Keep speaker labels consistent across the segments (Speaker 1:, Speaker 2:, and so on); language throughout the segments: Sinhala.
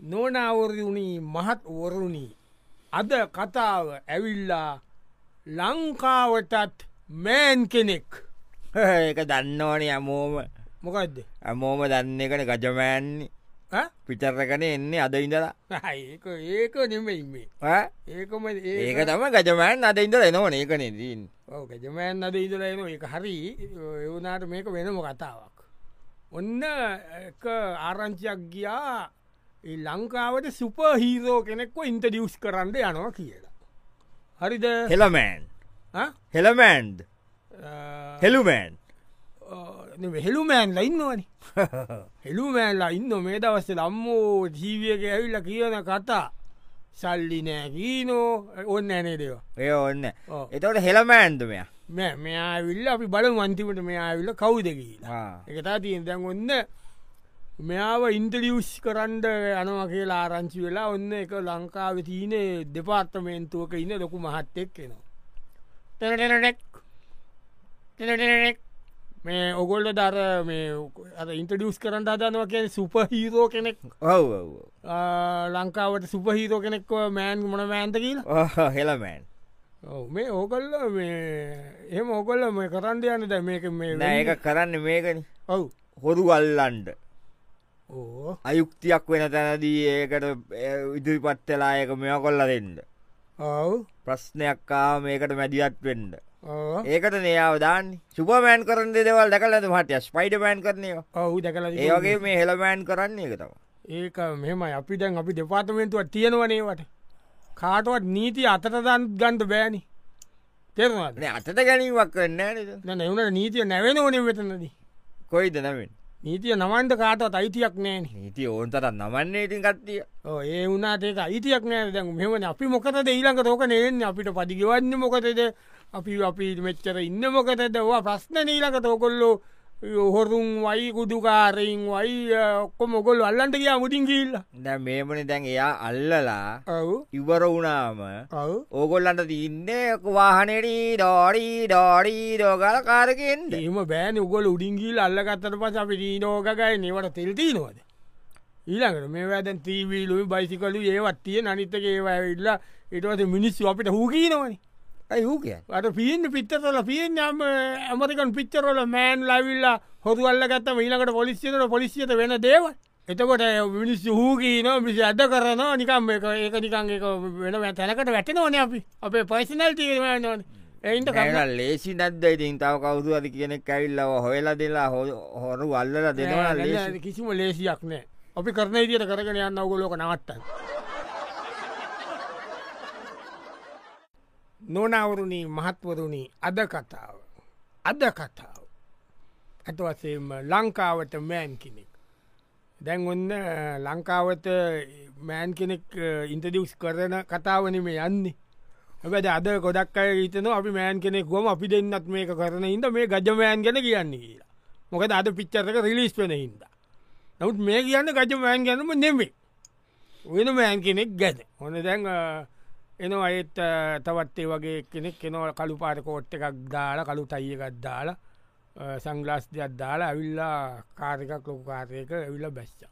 Speaker 1: නොනවරුණී මහත්වරුණී අද කතාව ඇවිල්ලා ලංකාවටත් මෑන් කෙනෙක්
Speaker 2: ඒක දන්නවනේ අමෝම
Speaker 1: මොකක්ද
Speaker 2: අමෝම දන්න එකට ගජමෑන්නේ
Speaker 1: ඈ?
Speaker 2: පිටර කන එන්නේ අද ඉඳලා
Speaker 1: ආ, ඒක ඒක නෙමෙයි මේ
Speaker 2: ඈ?
Speaker 1: ඒකම
Speaker 2: ඒක තම ගජමෑන් අද ඉඳල එනවන ඒකනේ දීන්
Speaker 1: ගැජමයන් අද ඉදලන එක හරි එවනාට මේක වෙනම කතාවක්. ඔන්න එක ආරංචියක් ගියා ඒ ලංකාවට සුප හීරෝ කෙනෙක්ව ඉන්ටඩියස් කරන්න යනවා කියලා. හරිද
Speaker 2: හෙළමෑන්
Speaker 1: ආ?
Speaker 2: හෙළමෑන්්
Speaker 1: අ,
Speaker 2: හෙළුමෑන්
Speaker 1: නෙමෙයි, හෙළුමෑන්ලා ඉන්නවන හෙළුමෑන්ලා ඉන්න මේ දවස්ස ලම්මෝ ජීවියක ඇවිල්ල කියන කතා සල්ලි නෑ කීනෝ ඔන්න ඇනේ දේවා.
Speaker 2: ඔය ඔන්න
Speaker 1: ඔව්.
Speaker 2: එතවට හෙළමෑන්දුමය
Speaker 1: මෙ මෙයා විල්ල අපි බල වන්තිමට මෙයා විල්ල කවුද කියලා. එකතා තියෙන් දැන් ඔන්න මෙයාව ඉන්ටලියස් කරන්ඩ යනව කියලා ආරංචි වෙලා ඔන්න එක ලංකාව තියනේ දෙපාර්තමේන්තුවක ඉන්න ලොකු මහත්තෙක් එනවා. තැනටෙනෙක් තැනටෙනෙක් මේ ඔගොල්ල දර මේ අද ඉන්ටඩියස් කරන්න අදනවා කිය සුපහීරෝ කෙනෙක්
Speaker 2: ඔව
Speaker 1: ආ, ලංකාවට සුපහීරෝ කෙනෙක් මෑන් මොන මෑන්ත කියලා
Speaker 2: හෙළමෑන්
Speaker 1: ඔව්, මේ ඕකොල්ල මේ එහම ඕකොල්ල මේ කරන්ඩ යන්න දැ මේක මේ
Speaker 2: ඒක කරන්න මේකන
Speaker 1: ඔව්
Speaker 2: හොරු අල්ලන්ඩ
Speaker 1: ඕ
Speaker 2: අයුක්තියක් වෙන තැනදී ඒකට ඉදිරිපත්වෙලායක මෙය කොල්ල දෙන්න
Speaker 1: ඔව්
Speaker 2: ප්‍රශ්නයක් ආ මේකට මැදිියත් වෙන්ඩ
Speaker 1: ඕ
Speaker 2: ඒකට නයාවදාන් සුපමෑන් කරන දෙවල් දැකලද මටය ස්පයිඩමෑන් කරනය
Speaker 1: ඔවු දැකල
Speaker 2: ඒවගේ මේ හෙළමෑන් කරන්නේ එකතම
Speaker 1: ඒක මෙමයි අපි දැන් අපි දෙපාර්තමේන්තුවත් තියෙනවනේවට කාටවත් නීති අතටදන් ගන්ට බෑනි තෙරවාද
Speaker 2: අතට ගැනීමක් කන්න නද
Speaker 1: එවුණට නීතිය නැවෙන ඕනේ වෙතනද
Speaker 2: කොයිද නමින්
Speaker 1: නීතිය නමන්ට කාටවත් අයිතියක් නෑන
Speaker 2: නීති ඕන්තට නමන්නේ ඉතින් කත්තිය
Speaker 1: ඒ වුණට ඒක අයිතියක් නෑ දැන් මෙමන අපි මොකද ඊළඟ රෝක නයෙන් අපිට පදිගවන්න මොකතද අපි අපි මෙච්චර ඉන්න මොකතදවා ප්‍රශ්න නීලක තෝකොල්ලෝ හොරුම් වයි කුඩුකාරයෙන් වයි ඔක්කො මොකොල් අල්ලන්ට කියා මුටින් කිල්ල
Speaker 2: දැ මේමනි දැන් එයා අල්ලලා
Speaker 1: ඔවු
Speaker 2: ඉවර වුණාම
Speaker 1: ඔවු
Speaker 2: ඕගොල්ලන්ට තින්නේ වාහනෙරී ඩෝඩී ඩෝඩී දෝගල කාරකෙන්ට
Speaker 1: එම බෑන උගොල උඩින්ගිල් අල්ලගත්තට පස අපි රීනෝගයි නවට තෙල්ති නොවද ඊළඟට මේ වැදැන් තීවීලුයි බයිසිකලු ඒවත් තිය නනිත්තකේවඇවිල්ල එටවස මිනිස්සු අපිට හූකීනවනි
Speaker 2: ඇයූ කිය
Speaker 1: අට පියෙන් පිත්තසොල පියෙන් යම ඇමරිකන් පිච්චරොල මෑන් ලවිල්ලා හොතු අල්ලගත්තම ඊළකට පොලිසියට පොලිසියට වෙන දේව එතකොට මිනිස්සු හූකීන මිසි අද කරනවා නිකම් එක ඒක නිකන් එක වෙන තැනකට වැටෙනවන අපි අපේ පයිසිනල් තීරමය නොන එයින්ට කරලා
Speaker 2: ලේසි නැද්ද ඉතින් තව කවුරු අද කියනෙක් ඇවිල්ලව හොවෙලා දෙලා හො- හොරු අල්ලල දෙනවා
Speaker 1: නෑ,
Speaker 2: ලේසි
Speaker 1: නෑ, කිසිම ලේසියක් නෑ අපි කරන ඉදිට කරගෙන යන්න ඔගොලෝක නවත්තන්න නොනවරුණී මහත්වරුණී අද කතාව අද කතාව ඇතවසේම ලංකාවට මෑන් කෙනෙක් දැන් ඔන්න අ, ලංකාවට මෑන් කෙනෙක් ඉන්ටඩියස් කරන කතාවනම යන්නේ ඇබැද අද ගොඩක් අය හිතන අපි මෑන් කෙනෙක් ගොම අපි දෙන්නත් මේක කරන ඉද මේ ගජමෑන් ගැන කියන්නේ කියලා මොකද අද පිච්චරක රිලිස් වෙන හින්ද නමුත් මේ කියන්න ගජමෑන් ගැනම නෙමේ වෙන මෑන් කෙනෙක් ගැන හොන දැන් අ, එනවා අයත් අ, තවත් ඒ වගේ කෙනෙක් කෙනවල කළු පාට කෝට් එකක් දාලා කළු තයියකත් දාලා අ, සංග්ලාස් දෙයක් දාලා ඇවිල්ලා කාරකක් ලොකු කාරයක ඇවිල්ල බැස්්චා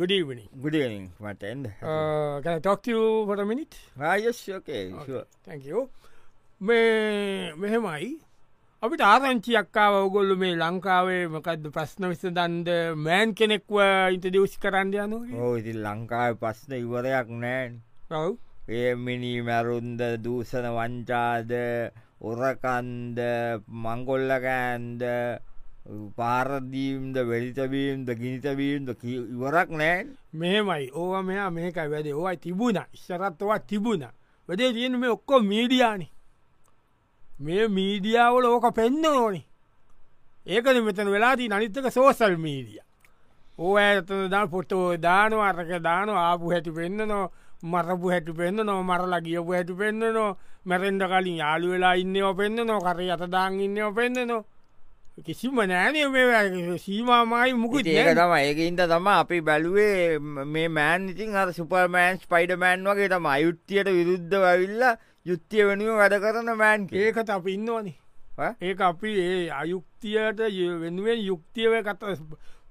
Speaker 1: ගඩීවනි
Speaker 2: ගුඩියනින් මට එන්ඩ
Speaker 1: ටොක්ටවට මිනිත්
Speaker 2: රායස්යෝකේ
Speaker 1: තැකෝ මේ මෙහෙමයි අපිට ආරංචියක්කාව ඔගොල්ලු මේ ලංකාවේ මකද ප්‍රශ්න විස දන්ද මෑන් කෙනෙක්ව ඉන්ටදියස් කරන්න යනු
Speaker 2: ඕ ඉති ලංකාව පස්න ඉවරයක් නෑන්
Speaker 1: ඔව්
Speaker 2: ඒමිනී මැරුන්ද දූසන වංචාද උරකන්ද මංගොල්ලකෑන්ද පාරදීම්ද වෙලිතබීම්ද ගිනිතබීම්ද ඉවරක් නෑන්
Speaker 1: මෙහෙමයි ඕව මෙයා මේකයි වැඩේ ඕයි තිබුණ ඉස්සරත්වත් තිබුණ වැඩේ තියෙන මේ ඔක්කෝ මීඩියානි මේ මීඩියාවල ඕක පෙන්න්න ඕනි ඒකද මෙතන වෙලාදී නනිත්තක සෝසල් මීඩිය ඕ ඇතන දා පොටෝ දානු අරක දාන ආපු හැටි පෙන්න්න නෝ මරපු හැටි පෙන්න්න නෝ මරලා ගියපු හැටි පෙන්න්න නෝ මැරෙන්ඩ කලින් යාලු වෙලා ඉන්නව පෙන්න්න නෝ කර අතදාං ඉන්නව පෙන්න්න නෝ කිසිම නෑනේ මේ සීමමායි මුකුත්
Speaker 2: ඒක
Speaker 1: නෑ.
Speaker 2: තම ඒකන්ට තම අපි බැලුවේ ම- මේ මෑන් ඉතින් අ සුපර්මෑන්ස් පයිඩමෑන් වගේ තම අයුත්තියට විරුද්ධ ඇවිල්ල යුත්තිය වෙනුව වැඩ කරන මෑන්
Speaker 1: ඒකත අපි ඉන්නවනේ
Speaker 2: ඈ?
Speaker 1: ඒ අපි ඒ අයුක්තියට ය- වෙනුවෙන් යුක්තියව කත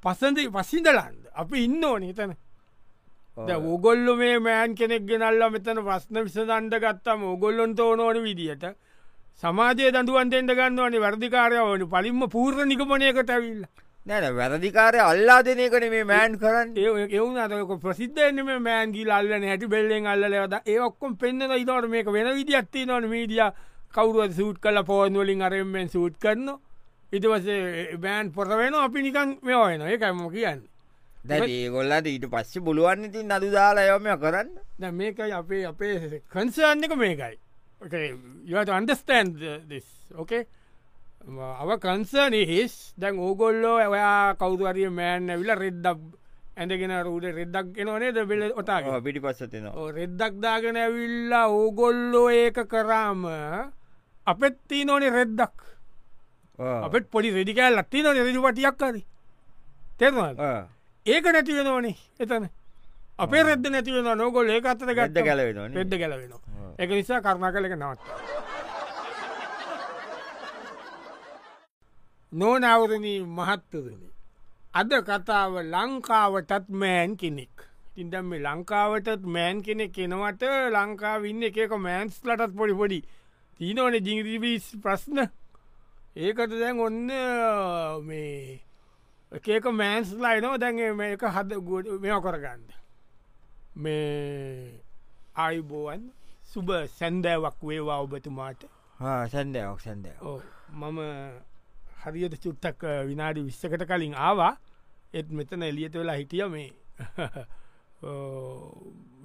Speaker 1: පසඳ පසිදලන්ද අපි ඉන්න ඕන හිතන උගොල්ලු මේ මෑන් කෙනෙක් ගෙනල්ල මෙතන ප්‍රශ්න විසඳන්ඩ ගත්තම උගොල්ලොන්ට ඕනෝන විදිහට සමාජය දඩුවන්තෙන්ට ගන්නවනේ වර්ධිකාරයවනි පලින්ම පූර්ණ නිගමනයකට ඇවිල්ල
Speaker 2: නැන වැරදිකාරය අල්ලා දෙන එකන මේ මෑන් කරන්න
Speaker 1: එවුන අතක ප්‍රසිද්ධයන මේ මෑන්ගිල් අල්ලන හැටි බෙල්ලෙන් අල්ලලවද ඒ ඔක්කොම පෙන්න්න ඉතවට මේක වෙන විදිහත්ති නොන මීඩිය කවරුව සූට් කල පෝන්වලින් අරෙන්ෙන් සූට් කරන ඉතිවස බෑන් පොර වෙන අපි නිකන් මෙවයන ඒකයිම කියන්න
Speaker 2: දැඒගොල්ලට ඊට පස්සේ පුළුවන් ඉතින් අදු දාලා යොමය කරන්න
Speaker 1: දැ මේකයි අපේ අපේ කන්සර්න්නක මේකයි අන්ඩස්ටන් ඕකේ අව කන්සර්න හිස් දැන් ඕගොල්ලෝ ඔයා කවුතුවරිය මෑන්න විල රෙද්දක් ඇඳගෙන රූඩ රෙද්දක් එනවනේ ද බෙල ඔතා
Speaker 2: පිටි පස්සතිනවා
Speaker 1: රෙද්දක් දාගෙන ඇවිල්ලා ඕගොල්ලෝ ඒක කරාම අපෙත්ති නොනේ රෙද්දක් අපට පොඩි රෙඩිකෑල් අත්ති නො රෙජු පටියක් කරි තෙරවා ඒක නැතිවෙන ඕනේ එතන අපේ රෙද නැතිවෙන නොගොල් ඒ අත්තර ගත්ත
Speaker 2: ගත්ත කැලවෙන
Speaker 1: රෙද්ද ගැලවෙනවා එක නිසා කරුණා කලක නවත් නෝනවරණී මහත්තරණ අද කතාව ලංකාවටත් මෑන් කෙනෙක් ඉන්දම් මේ ලංකාවටත් මෑන් කෙනෙක් කෙනවට ලංකාව ඉන්න එකක මෑන්ස් ලටත් පොඩි පොඩි තිීනෝන ජිංගරිවිස් ප්‍රශ්න ඒකට දැන් ඔන්න මේ එකක මෑන්ස් ලයිනෝ දැන්ගේ මේක හද ගුවට මෙෝ කරගන්න මේ අයිබෝවන් සුබ සැන්දෑවක් වේවා ඔබතුමාට
Speaker 2: සැන්දයක් සැන්දය
Speaker 1: ඕ මම හරියට චුත්තක් විනාඩි විස්සකට කලින් ආවා එත් මෙතන එලියත වෙලා හිටිය මේ ඕ,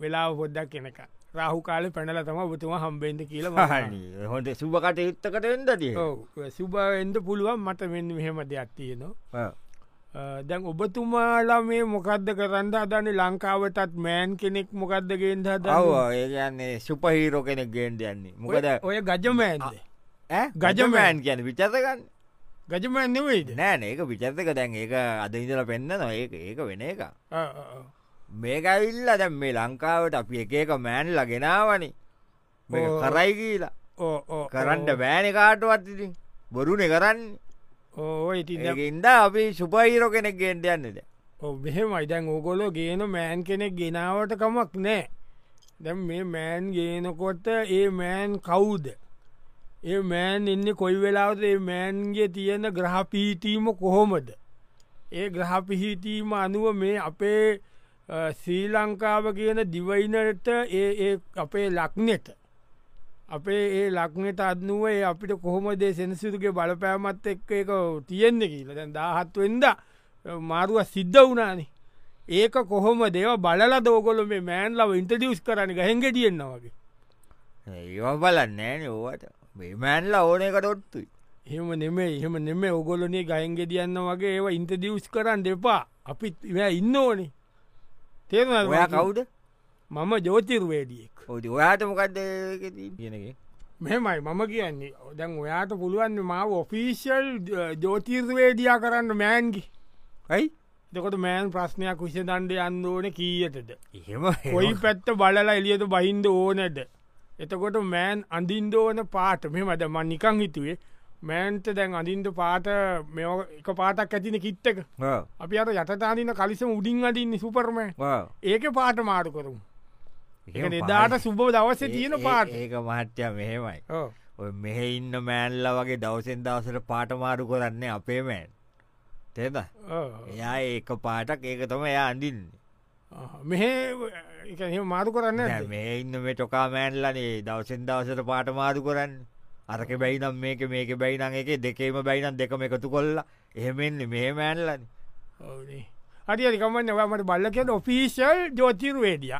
Speaker 1: වෙලාව හොද්දක් කෙනක රාහු කාල පැනල තම බතුම හම්බෙන්ද කියලා
Speaker 2: හොට සුභකට යුත්තකට එන්ද තිය
Speaker 1: සුභවෙන්ද පුළුවන් මට මෙන්න මෙහෙම දෙයක් තියෙනවා අ, දැන් ඔබතුමාලා මේ මොකක්ද කරන්න හදන ලංකාවටත් මෑන් කෙනෙක් මොකක්දගෙන්ද
Speaker 2: දව ඒගන්නේ සුපහිරෝ කෙනෙක් ගේන්ට යන්නේ මොකද
Speaker 1: ඔය ගජමෑන්ද
Speaker 2: ඈ?
Speaker 1: ගජමෑන්
Speaker 2: ගජමෑන් කියන විචතකන්න
Speaker 1: ගජමෑන් නෙවෙයිද
Speaker 2: නෑන ඒක විචර්තක දැන් ඒක අද ඉඳල පෙන්න්න නො ඒ ඒක වෙන එක
Speaker 1: ආ, ආ, ආ.
Speaker 2: මේකවිල්ල දැම් මේ ලංකාවට අපි එකක මෑන් ලගෙනවනි
Speaker 1: ඕ.
Speaker 2: කරයි කියලා
Speaker 1: ඕ, ඕ,
Speaker 2: කරන්න බෑන කාටවත් ඉතින් බොරුනෙ කරන්න
Speaker 1: ඕ ඔය ඉතින් දැන්
Speaker 2: ඉද අපි සුපහිරෝ කෙනෙක් ගෙන්ට යන්නද
Speaker 1: ඔව් මෙහෙමයි දැන් ඕගොලෝ ගේන මෑන් කෙනෙක් ගෙනාවට කමක් නෑ දැම් මේ මෑන් ගේනකොට ඒ මෑන් කවුද ඒ මෑන් එන්න කොයි වෙලාවද ඒ මෑන්ගේ තියෙන ග්‍රහපීටීම කොහොමද ඒ ග්‍රහපිහිටීම අනුව මේ අපේ අ, ශ්‍රී ලංකාව කියන දිවයිනට ඒ ඒ අපේ ලක්නෙට අපේ ඒ ලක්නට අදනුව ඒ අපිට කොහොමදේ සෙනසිදුගේ බලපෑමත් එක්ක එක තියෙන්න්න කියලා දැන් දාහත් වෙන්ද මාරුව සිද්ධ වනානේ ඒක කොහොම දේව බලලා දෝගොල මේ මෑන්ලව ඉන්ටඩියස් කරන්න ගහෙන්ග තියෙන්න්න වගේ
Speaker 2: ඒවා බලන්නෑන ඕවට මේමෑන්ල ඕනකට ඔත්තුයි
Speaker 1: එහෙම නෙමේ එහෙම නෙම ඔගොලනේ ගයන්ග තියන්න වගේ ඒව ඉන්ටඩියස් කරන්න දෙපා අපිත් එයා ඉන්න ඕනේ
Speaker 2: ඔයා
Speaker 1: තේර
Speaker 2: කවුද
Speaker 1: මම ජෝතිර්වේඩියෙක්
Speaker 2: ඔති ඔයාට මොකක්ද කියනගේ
Speaker 1: මෙමයි මම කියන්නේ දැන් ඔයාට පුළුවන් මාව ඔෆිසිල් ජෝතිර්වේඩියා කරන්න මෑන්ගි
Speaker 2: යි
Speaker 1: දෙකොට මෑන් ප්‍රශ්නයක් විෂ දන්ඩ යන්න ඕන කීයටද
Speaker 2: එහෙම
Speaker 1: කොයි පැත්ත බලලා එලියට බහින්ද ඕනද එතකොට මෑන් අඳින්ද ඕන පාට මෙ මද මන් නිකං හිතුවේ මෑන්ට දැන් අඳින්ද පාට මෙ එක පාටක් ඇතින කිත්තක අපි අර යටතාදින කලිසම උඩින් අඩින්න සුපර්මය ඒක පාට මාරු කරුම් එක එදාට සුබ දවස තියෙන පාට
Speaker 2: ඒක මහට්‍ය මෙහෙමයි
Speaker 1: ඕ.
Speaker 2: ඔය මෙහෙ ඉන්න මෑන්ල වගේ දවසෙන් දවසට පාටමාරු කරන්නේ අපේ මෑන් තේද
Speaker 1: ඕ.
Speaker 2: එයා ඒක පාටක් ඒක තම එයා අඳින්නේ
Speaker 1: ආහ්. මෙහෙ එකහෙ මාරු කරන්න
Speaker 2: දැන් මේ ඉන්න මේ ටොකා මෑන්ලනේ දවසෙන් දවසට පාටමාරු කරන්න අරක බැයිනම් මේක මේක බැයිනම් එක දෙකේම බැයිනම් දෙකම එකතු කොල්ලා එහෙමෙන්නේ මේ මෑන්ලන
Speaker 1: ඕනේ හරිරිකමන්න ඔයාමට බල්ල කියට ඔෆිසිල් ජෝතිර්වේඩිය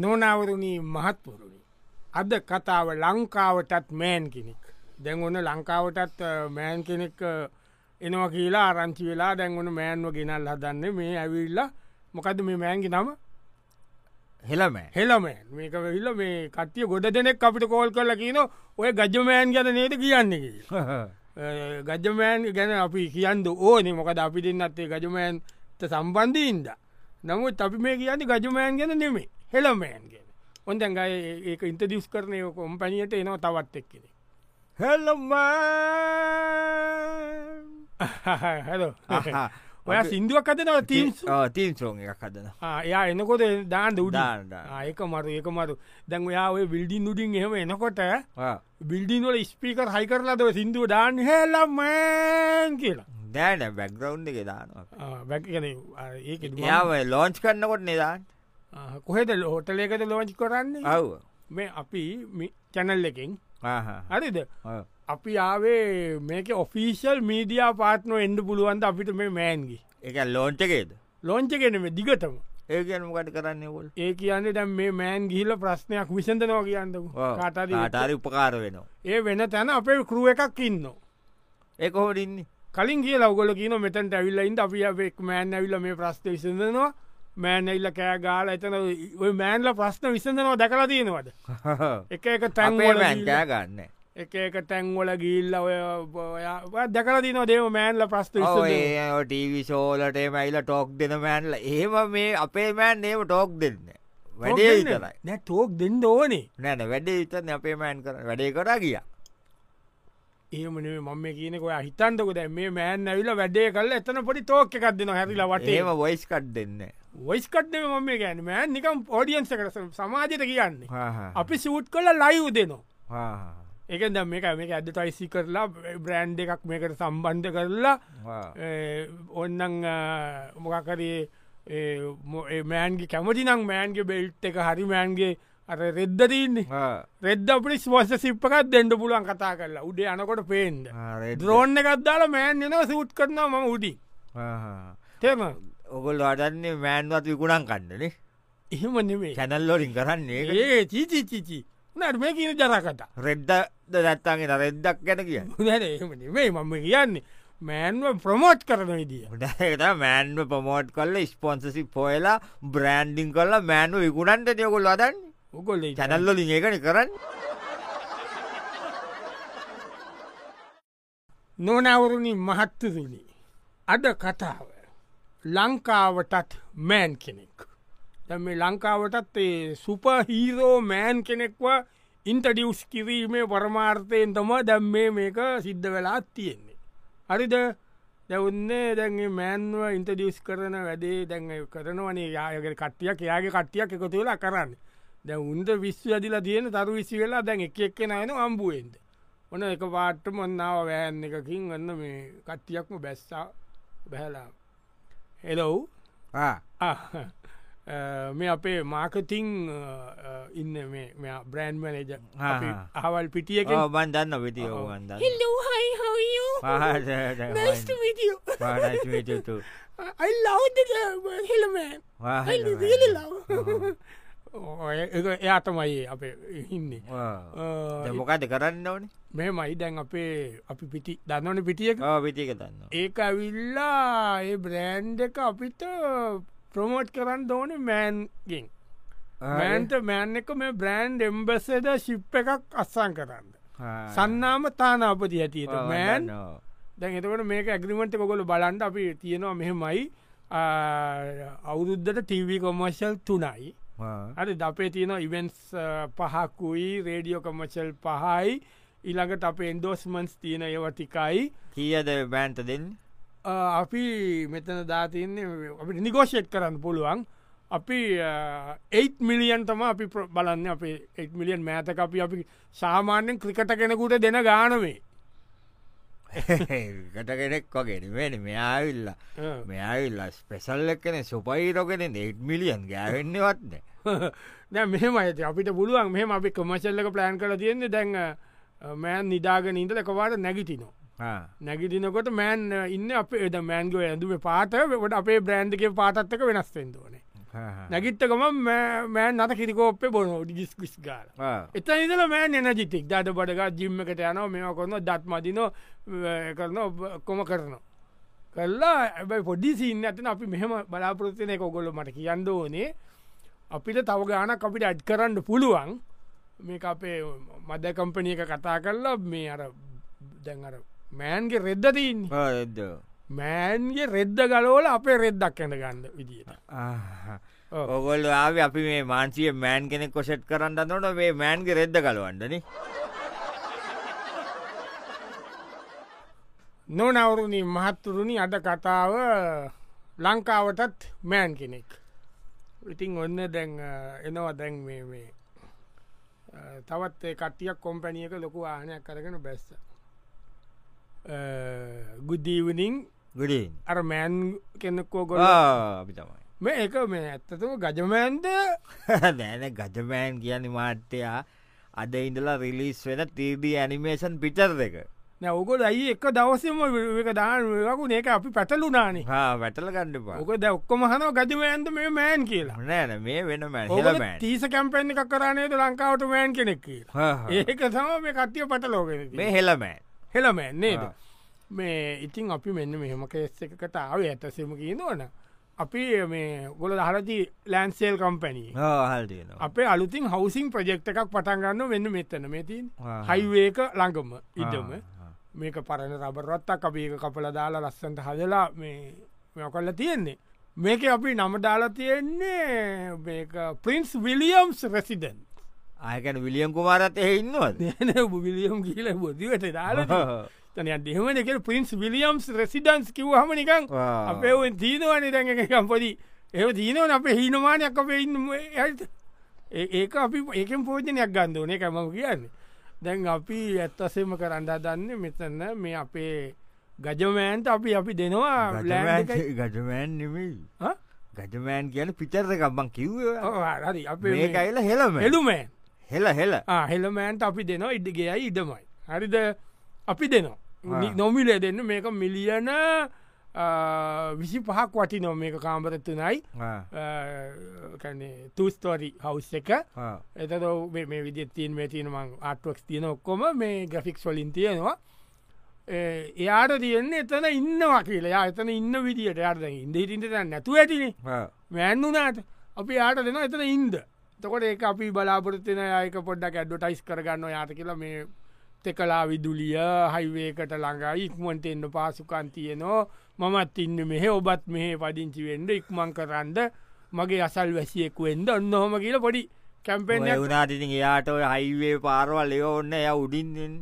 Speaker 1: නොනවරුණී මහත්වරුණි අද කතාව ලංකාවටත් මෑන් කෙනෙක් දැන් ඔන්න ලංකාවටත් අ, මෑන් කෙනෙක් අ, එනවා කියලා ආරංචි වෙලා දැන් ඔන්න මෑන්ව ගෙනල් හදන්න මේ ඇවිල්ල මොකද මේ මෑන්ගි නම
Speaker 2: හෙළමෑ
Speaker 1: හෙළමෑන් මේක වෙල්ල මේ කට්ටිය ගොඩ දෙනෙක් අපිට කෝල් කරලා කියන ඔය ගජමෑන් ගැන නේද කියන්නේ කියලා. ගජමෑන් Eh, ගැන අපි කියන්න ඕනේ මොකද අපි දෙන්නත්තේ ගජමෑන්ත සම්බන්ධීන්ද. නමුත් අපි මේ කියන්න ගජමෑන් ගැන නෙමේ හෙළමෑන් ගැන ඔොන්දන් ගය ඒක ඉන්ටදිස් කරනය කොම්පැනියට එනවා තවත් එක්කෙනෙ.
Speaker 2: හෙළම
Speaker 1: හැලෝ ඔය සිින්දුවක් අදනව තීන්ස්
Speaker 2: තීන් සෝන් එකක් හදන
Speaker 1: එයා එනකොට දාන්න උඩ
Speaker 2: දාන්න, දාන්න.
Speaker 1: ඒක මරු ඒක මරු දැන් ඔයා ඔය විල්ඩින් උඩින් එහෙම එනකොට බිල්ඩින්වල ස්පීකර් හයි කරලාද ඔය සිින්දුව දාන්න හෙලම්මෑන් කියලා
Speaker 2: දෑන බැක්ග්‍රවන්් එක දානවා
Speaker 1: වැැකන ඒක
Speaker 2: යාව ලෝංච් කරන්නකොට නිදාන්
Speaker 1: කොහෙද හොටලේකද ලෝච් කරන්නේ
Speaker 2: ඔව්
Speaker 1: මේ අපි චැනල් එකින්
Speaker 2: ආහා.
Speaker 1: හරිද
Speaker 2: ඔව්.
Speaker 1: අපි ආවේ මේක ඔෆිසිල් මීඩියා පාට්නෝ එන්ඩ පුළුවන්ද අපිට මේ මෑන්ගේ
Speaker 2: ඒක ලෝංච එකේද
Speaker 1: ලෝංචගෙනම දිගටම
Speaker 2: ඒකනමකට කරන්නකොල්
Speaker 1: ඒ කියන්නේ දැම් මේ මෑන් ගිහිල ප්‍රශ්නයක් විසඳනවා කියන්නක කාටද
Speaker 2: ආටාරි උපකාර වෙනවා
Speaker 1: ඒ වෙන තැන අපේ කරුව එකක් ඉන්න
Speaker 2: ඒ කොහොටින්නේ
Speaker 1: කලින් කිය ලවගල කියන මෙතැන් ඇවිල්ලයින්ද අපි අපෙක් මෑන් ඇවිල්ල මේ ප්‍රශ්න විසඳනවා මෑන් ඇල්ල කෑ ගාල එතන ඔය මෑන්ල ප්‍රශ්න විසඳනවා දැකලා තියෙනවද එක එක තැන්වල
Speaker 2: තැන්ේ
Speaker 1: ගිහිල්ලා-
Speaker 2: මැන්කෑ ගන්න
Speaker 1: එක එක තැන්වල ගිල්ල ඔය ඔයා- ඔයා දැකලා තිනවා දේව මෑන්ල ප්‍රශ්න විසඳනවා.
Speaker 2: ටීවි ශෝලට මයිල ටෝක් දෙන මෑන්ල ඒම මේ අපේ මෑන් ඒම ටෝක් දෙන්න
Speaker 1: තෝක්
Speaker 2: වැඩේ
Speaker 1: දෙන්න.
Speaker 2: විතරයි
Speaker 1: නෑ තෝක් දෙන්න ඕනේ
Speaker 2: නැන වැඩේ විතරන අපේ මෑන් කර වැඩේ කරා ගිය
Speaker 1: ඒමන මම කියනක ඔය හිතන්තක දැ මේ මෑන් ඇවිල වැඩේ කල එතන පොඩි තෝක එකක් දෙන හැරිලා
Speaker 2: ඒම
Speaker 1: වටේ
Speaker 2: වොයිස් කට් දෙන්න
Speaker 1: වයිස්කට්න මම ගැන මෑ නිකම් පෝඩියන්ස කරස සමාජයට කියන්නේ
Speaker 2: හා
Speaker 1: අපි සූට් කල ලයිව් දෙනවා
Speaker 2: හා.
Speaker 1: එක දම් මේ මේ ඇදටයිසි කරලා බ්‍රෑන්් එකක් මේකට සම්බන්ධ කරලා
Speaker 2: හා.
Speaker 1: ඒ, ඔන්නං ah, මොකකරේ eh, මෑන්ගේ කැමතිනම් මෑන්ගේ බෙල්ට් එක හරි මෑන්ගේ අර රෙද්දරන්නේ
Speaker 2: හා.
Speaker 1: රෙද්ද අපිට ස්වස සිප්පකත් දෙන්න පුළුවන් කතා කරලා උඩේ අනකොට පේන්ද
Speaker 2: හා, රෙද්ද.
Speaker 1: ද්‍රෝන්න එකත්දාලා මෑන් එෙන සූට් කරනවා මම උඩි
Speaker 2: හා, හා.
Speaker 1: තෙම
Speaker 2: ඔගොල් අඩන්නේ මෑන්වත් විකුණන් කන්නනේ
Speaker 1: එහෙම නෙමේ
Speaker 2: චැනල්ලොලින් කරන්නේ ඒක.
Speaker 1: ඒ චීචිචිචි නට මේ කියන ජරකතා
Speaker 2: රෙද්ද දැත්තාගෙන රෙද්දක් ගැන කිය
Speaker 1: හොඳ එහෙම නෙමේ මම කියන්නේ මෑන්ව ප්‍රමෝට් කරන විදිිය
Speaker 2: ට මෑන්ව පමෝට් කල්ල ස්පොන්සසි පොයලා බ්‍රෑන්ඩිං කල්ලා මෑන්ව විකුණන්ට යකොල් අදන්න
Speaker 1: ඔකොල්ල
Speaker 2: චැනල්ලොලින් ඒකන කරන්න
Speaker 1: නොනැවරුණින් මහත්තදුනි අද කතාව ලංකාවටත් මෑන් කෙනෙක් දැන් මේ ලංකාවටත් ඒ සුපහීරෝ මෑන් කෙනෙක්ව ඉන්ටඩියස් කිරීමේ පරමාර්ථයෙන් තම දැම් මේ මේක සිද්ධ වෙලා තියෙන්නේ. හරිද දැවන්නේ දැන්ගේ මෑන්ව ඉන්ටඩියස් කරන වැඩේ දැන් ඒ කරනවනේ යායකට කට්ටියක් එයාගේ කට්ටියක් එකතු වෙලා කරන්න දැ උන්ද විශ්ව අදිලා තියෙන තරු විසි වෙලා දැන් එක එක් නයන අම්බුවෙන්ද ඔන එක පාට්ට මොන්නාව වෑන් එකකින් ගන්න මේ කට්ටියක්ම බැස්සා බැහලා හෙලව් මේ අපේ මාර්කතිං ඉන්න මේ බ්‍රන්් මනජ
Speaker 2: ආ.
Speaker 1: හවල් පිටිය එක
Speaker 2: බන් දන්න විටිය ගන්ද
Speaker 3: Hello, hi, how are you? Nice to meet you.
Speaker 2: පාටතු
Speaker 3: I love the uh, hello man. I Oh, eh, really love.
Speaker 1: එයා තමයි අපේ ඉන්නේ අ,
Speaker 3: Uh,
Speaker 2: මොකද කරන්න ඕනේ
Speaker 1: මෙමයි දැන් අපේ අපි පිටි දන්නවන පිටියක
Speaker 2: විටික දන්න
Speaker 1: ඒක ඇවිල්ලා
Speaker 3: e
Speaker 1: ඒ බ්‍රෑන්් එක අපිට ප්‍රමෝට් කරන්න ඕන මෑන්ගෙන්
Speaker 3: Ah, eh?
Speaker 1: මෑන්ට මෑන් එක මේ බ්‍රෑන්් එම්බසද ශිප් එකක් අස්සන් කරන්න
Speaker 3: Ah.
Speaker 1: සන්නාම තානාපති ඇතියට
Speaker 3: Oh,
Speaker 1: මෑන් දැන් එතකට මේක ඇග්‍රිමට කොකොල බලන්ඩ අපි තියෙනවා මෙහෙමයි ආ, අවුරුද්දට ටීවී කොමර්ශල් තුනයි අද අපේ තියෙන ඉවෙන්ස් පහකුයි රේඩියෝ කොමර්ශල් පහයි ඉළඟට අප එන්ඩෝස්මන්ස් තියෙන ඒවටිකයි
Speaker 2: කියද බෑන්ත දෙන්න
Speaker 1: අ, අපි මෙතන දාතියන්නේ අපි නිගෝෂට් කරන්න පුළුවන් අපි 8 මිලියන් තම අපි ප්‍ර- බලන්න අප 8 මිලියන් මෑතක අපි අපි සාමාන්‍යෙන් ක්‍රිකට කෙනකුට දෙන ගානවේ
Speaker 2: කට කෙනෙක් වගේ වෙන මෙයාවිල්ල මෙයාවිල්ල ස්පෙසල් එක්කන සුපයිරෝගෙන ඒට් මිලියන් ගෑවෙන්නවත්න
Speaker 1: දැ මෙම ඇති අපිට පුළුවන් මෙම අපි කොමශල්ලක ප්ලෑන් කළ තියෙන්නේ දැන් අ, මෑන් නිදාගෙන ඉඳල එකවාට නැගිටිනෝ නැගිටිනකොට මෑන් අ, ඉන්න අප එද මෑන්ගෝ ඇඳුම පාටවට අපේ බ්‍රෑන්්ක පාතත්ක වෙනස්සෙන්දෝනේ නැගිත්තකම මෑන් අත කිරිකෝප්පේ බොනෝ ඩිස්කිස් ගාල එත ඉදල මෑන් එන ජිතික් දට බඩග ජිම්මකට යන මෙම කොන්න දත් මදින කරන කොම කරනවා. කරලා ඇබයි පොඩි සින්න ඇතන අපි මෙහම බලාපොරත්තිනය කොගොල මට කියන්න ඕනේ අපිට තව ගානක් අපිට ඇඩ් කරන්න පුළුවන් මේ අපේ මද කම්පනියක කතා කරලා මේ අර දැන්ර මෑන්ගේ රෙද්දතින් මෑන්ගේ රෙද්ද ගලෝල අපේ රෙද්දක් ඇඳ ගන්න විදිට
Speaker 2: ඔගොල් ආව අපි මේ මාන්සිය මෑන් කෙනෙක් කොසෙට් කරන්න නොට මේ මෑන්ගේ රෙද්ද කලවන්නන
Speaker 1: නොනවරුණි මහත්තුරුණි අද කතාව ලංකාවටත් මෑන් කෙනෙක්. ඉතිං ඔන්න දැන් අ, එනවා දැන් මේ මේ. අ, තවත් ඒ කට්ටියක් කොම්පැනියක ලොකු ආනයක් කරගෙන බැස්ස. ගුද්දීවනිින්
Speaker 2: ගඩින්
Speaker 1: අර මෑන් කෙනෙක්කෝ ගොල
Speaker 2: අපි තමයි
Speaker 1: මේ එක මේ ඇත්තතම ගජමෑන්ද
Speaker 2: නෑන ගජමෑන් කියන්න මාට්‍යයා අද ඉඳලා රිලිස් වෙන තීදී ඇනිමේෂන් පිටර් දෙක
Speaker 1: නෑ ඕකො දයි එක දවසම එක දානකු ඒක අපි පැටලුනානේ
Speaker 2: හා වැටල ගණ්ඩපා
Speaker 1: ඕක ද ඔක්කොම හනෝ ගජමෑන්ද මේ මෑන් කියලා
Speaker 2: නෑන මේ වෙන
Speaker 1: ඕගොල්ලෝ
Speaker 2: මැන්
Speaker 1: තීස කැම්පෙන්් එකක් කරනේද ලංකාවට මෑන් කෙනෙක් කියලා. ඒක සම මේ කට්ටිය පටලෝගෙන
Speaker 2: මේ හෙළමෑන්
Speaker 1: හෙළමෑන්නේද
Speaker 2: ආ.
Speaker 1: මේ ඉතින් අපි මෙන්න මෙහෙම කෙස් එකකට ආව ඇතසම කියනවන අපි මේ ගොල දහරති ලෑන්සේල් කම්පැනී
Speaker 2: හල් තියෙනවා
Speaker 1: අපේ අලුතින් හවසින් ප්‍රජෙක්් එකක් පටන්ගන්න වෙන්න මෙත්තන මෙතින්
Speaker 2: ආ.
Speaker 1: හයිවේක ළඟම ඉදම
Speaker 2: ආ.
Speaker 1: මේක පරණ රබරත්තා අපේක කපල දාලා ලස්සන්ට හදලා මේ මෙකොල්ල තියෙන්නේ මේක අපි නම දාලා තියෙන්නේ මේක පින්ස් විලියම්ස් රෙසිඩන්
Speaker 2: ආයකැන විලියම් කුමාරත් එහ ඉන්නවද
Speaker 1: නන විලියම් කියල බොදිවට දාලා තන දෙහම දෙක පින්ස් විලියම්ස් රෙසිඩන්ස් කිව් හම නිකං
Speaker 2: ආ.
Speaker 1: අපේ ඔය දීනවන දැන් එකම්පොදි ඒ දීනවන අප හීනමානයක් අපේ ඉන්න ඇ ඒක අපි ඒකෙන් පෝජනයක් ගන්න ඕනේ කැමම කියන්න දැන් අපි ඇත්තසෙම කරන්න දන්න මෙතන්න මේ අපේ ගජමෑන්ට අපි අපි දෙනවා ලෑන්ඩ් එකයි.
Speaker 2: ගජමෑන් නෙමෙයි
Speaker 1: හා?
Speaker 2: ගජමෑන් කියන පිටර් එකම්බන් කිව්ව
Speaker 1: ඔව් හරි අපේ මේ
Speaker 2: ඒකයිල හෙළම
Speaker 1: හෙළුමෑන්
Speaker 2: හෙළ හෙළ
Speaker 1: ආ, හෙළමෑන්ට අපි දෙනවා ඉඩගෙයි ඉඩමයි හරිද අපි දෙනවා
Speaker 2: ආ.
Speaker 1: නොමිලේ දෙන්න මේක මිලියන විසි පහක් වටි නො මේක කාම්බරත්තුනයි
Speaker 2: ආ.
Speaker 1: තුස්තෝරි හවස් එක
Speaker 2: ආ.
Speaker 1: එතද මේ විදිත්තිීන් මේ තියෙන මං ආටුවක්ස් තියෙන ඔක්කොම මේ ග්‍රෆික්ස් වලින් තියෙනවා ඒ- එයාට තියෙන්නේ එතන ඉන්නවා කියලා එතන ඉන්න විදිට අර්ද ඉන්ද ඉටින්ට නැතු ඇතිනේ
Speaker 2: ආ.
Speaker 1: වැෑන්නුනාට අපි යාට දෙෙන එතන ඉන්ද තකොට ඒ අපි බලාපොරත්තින යක පොඩ්ඩක් ඇඩ්ඩටයිස් කරගන්න යාට කියලා මේ තෙකලා විදුලිය හයිවේකට ළඟා ඉක්මට එන්න පාසුකන් තියනෝ මමත් ඉන්න මෙහෙ ඔබත් මෙහ පදිංචි වෙන්ඩ ඉක්මං කරන්ද මගේ අසල් වැසියෙක් වෙන්ද ඔන්න හොම කියල පොඩි කැම්පෙන්
Speaker 2: ඔය වුනාටිති එයාට ඔය හයිවේ පාරවල් ඒ ඔන්න එය උඩින්ෙන්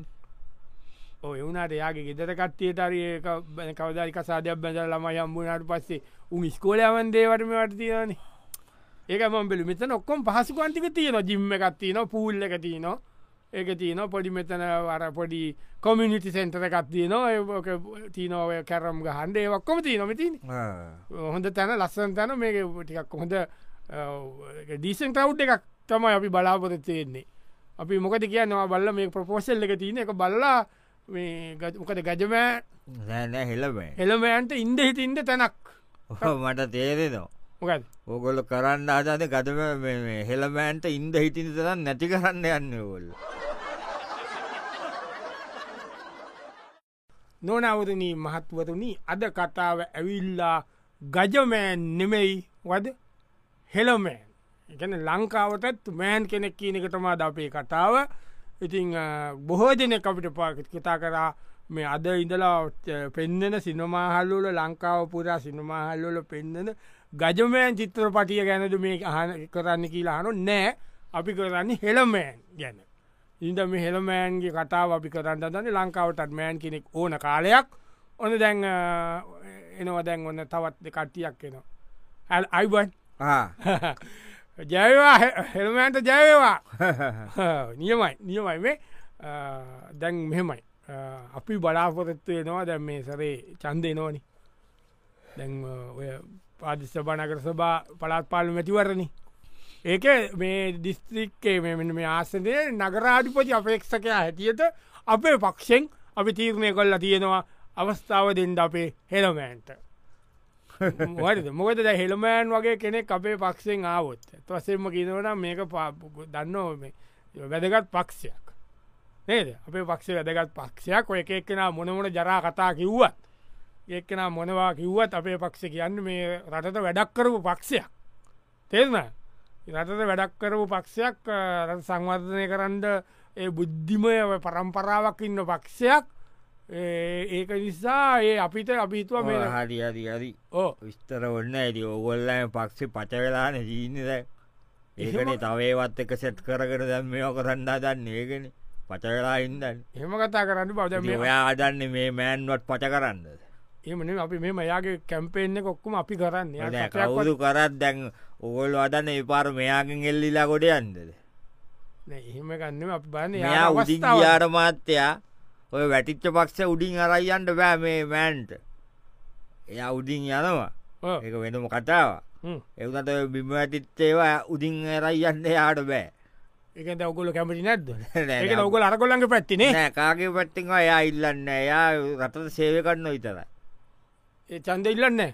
Speaker 1: එවුණට යාගේ ගෙදර කට්ටියට අරිය බැන කවදරි කසාදයක් බැඳල ම යම්බුණට පස්සේ උන් ස්කෝලයවන් දේවටම වටතියන ඒකම පෙළි මෙත ඔක්කොම් පහසුකන්තික තියෙන ජිම්ම එකත්තින පූල්ල එක තියන ඒක තියන පොඩි මෙතන වර පොඩි කොමිනිිටි සෙන්ටර එකත්තිය නො තිීනෝව කැරම් හන්ඩේ ඔක්කොම තියනොමති හොඳ තැන ලස්සන් තැන මේක ටිකක් හොඳ ඩීසන් ටව් එකක් තමයි අපි බලාපොත තියෙන්නේ අපි මොකද කිය නවා බල්ල මේ ප්‍රපෝසල් එක තියන එක බල්ලා මේ ගජ- මොකද ගජමෑ
Speaker 2: නෑන හෙළබෑ
Speaker 1: එළමෑන්ට ඉන්ඩ හිටින්ට තැනක්
Speaker 2: මට තේරෙනවා
Speaker 1: මොකද
Speaker 2: ඕගොල්ල කරන්න ආදාද ගතම හෙළමෑන්ට ඉන්ද හිටිනි තරන් නැති කරන්න යන්න ඔොල්
Speaker 1: නොනවරණී මහත්වරණී අද කතාව ඇවිල්ලා ගජමෑන් නෙමෙයි වද හෙළමෑන් එකන ලංකාවටත් මෑන් කෙනෙක් කියන එකටමා ද අපේ කතාව ඉතිං බොහෝ දෙන අපිට පාකත් කතා කරා මේ අද ඉඳලා ඔච්ච- පෙන්නෙන සිනමාහල්ලුල ලංකාව පුරා සිනමාහල්ලොල පෙන්නෙන ගජමෑන් චිත්‍රපටිය ගැනද මේ අහන කරන්න කියලා හනු නෑ අපි කරන්නේ හෙළමෑන් ගැන. ඉද මේ හෙළමෑන්ගේ කතාව අපි කරන්න දන්න ලංකාවටත් මෑන් කෙනෙක් ඕන කාලයක් ඕන දැන් අ, එනවා දැන් ඔන්න තවත් කට්ටියක් එනවා. ඇල් අයිබන් ජයවා හෙළමෑන්ට ජයවා නියමයි නියමයි මේ අ, දැන් මෙහෙමයි අ, අපි බලාපොරත්තුවේ නවා දැන් මේ සරේ චන්දය නෝනි දැන් අ, ඔය පාදිස්්‍ය බනකර සබා පලාත් පාලු මැතිවරණි ඒක මේ දිස්ත්‍රික්කේ මෙ මෙන්න මේ ආසනය නගරාධිපති අපේක්ෂකයා හැටියට අපේ පක්ෂෙන් අපි තීරණය කොල්ලා තියෙනවා අවස්ථාව දෙන්ඩ අපේ හෙළමෑන්ට වද මොකද ද හෙළමෑන් වගේ කෙනෙක් අපේ පක්ෂෙන් ආවොත් ඇත්වසෙන්ම කියනවනම් මේක පාපු දන්න මේ වැදගත් පක්ෂයක් නේද අපේ පක්ෂ වැදගත් පක්ෂයක් ඔය එකක්කෙන මොනමොන ජරා කතා කිව්වත් ඒක්කෙන මොනවා කිව්වත් අපේ පක්ෂ කියන්න මේ රටට වැඩක් කරපු පක්ෂයක් තේරන රටට වැඩක් කරපු පක්ෂයක් අ, රට සංවර්ධනය කරන්න ඒ බුද්ධිමය ඔය පරම්පරාවක් ඉන්න පක්ෂයක් ඒ- ඒක නිසා ඒ අපිට අපිතුව මේ
Speaker 2: හරි හරි හරි
Speaker 1: ඕ
Speaker 2: විස්තර ඔන්න ඇති ඔගොල්ලම පක්ෂි පචවෙලාන ජීන්නද ඒකනේ
Speaker 1: එහෙම-
Speaker 2: තවේවත් එක සෙට් කරගෙන දැම් මේෝ කරන්න දන්න ඒගෙන පචකලා ඉන්දන්
Speaker 1: එහෙම කතා කරන්න බවද මේ
Speaker 2: ඔයා අදන්නේ මේ මෑන්වත් පච කරන්න
Speaker 1: එමන අපි මෙම යාගේ කැම්පේෙන්න්න කොක්කුම අපි කරන්න එයා කතාවක්
Speaker 2: කවුදු කරත් දැන් ඕගොල් අදන්න එපාර මෙයාගෙන් එල්ලිලා ගොඩ යන්දද
Speaker 1: නෑ, එහෙම ගන්න අප බන්න
Speaker 2: මෙයා උදින් යාට මාත්‍යයා ඔය වැටිච්ච පක්ෂ උඩින් අරයියන්ට බෑ මේ මෑන්ට එයා උඩින් යනවා එක වෙනම කතාව එවනට බිම ඇතිත්තේවා උදින් ඇරයියන්න යාට බෑ
Speaker 1: එක ඔගොල කැමටි නැද්ද එක ඔගොල අරකොල්ලඟ පැත්තිනේ
Speaker 2: නෑ කාගේ පැත්තිවා එයා ඉල්ලන්න එයා රටට සේව කරන්න විතර
Speaker 1: ඒ චන්ද ඉල්ලන්න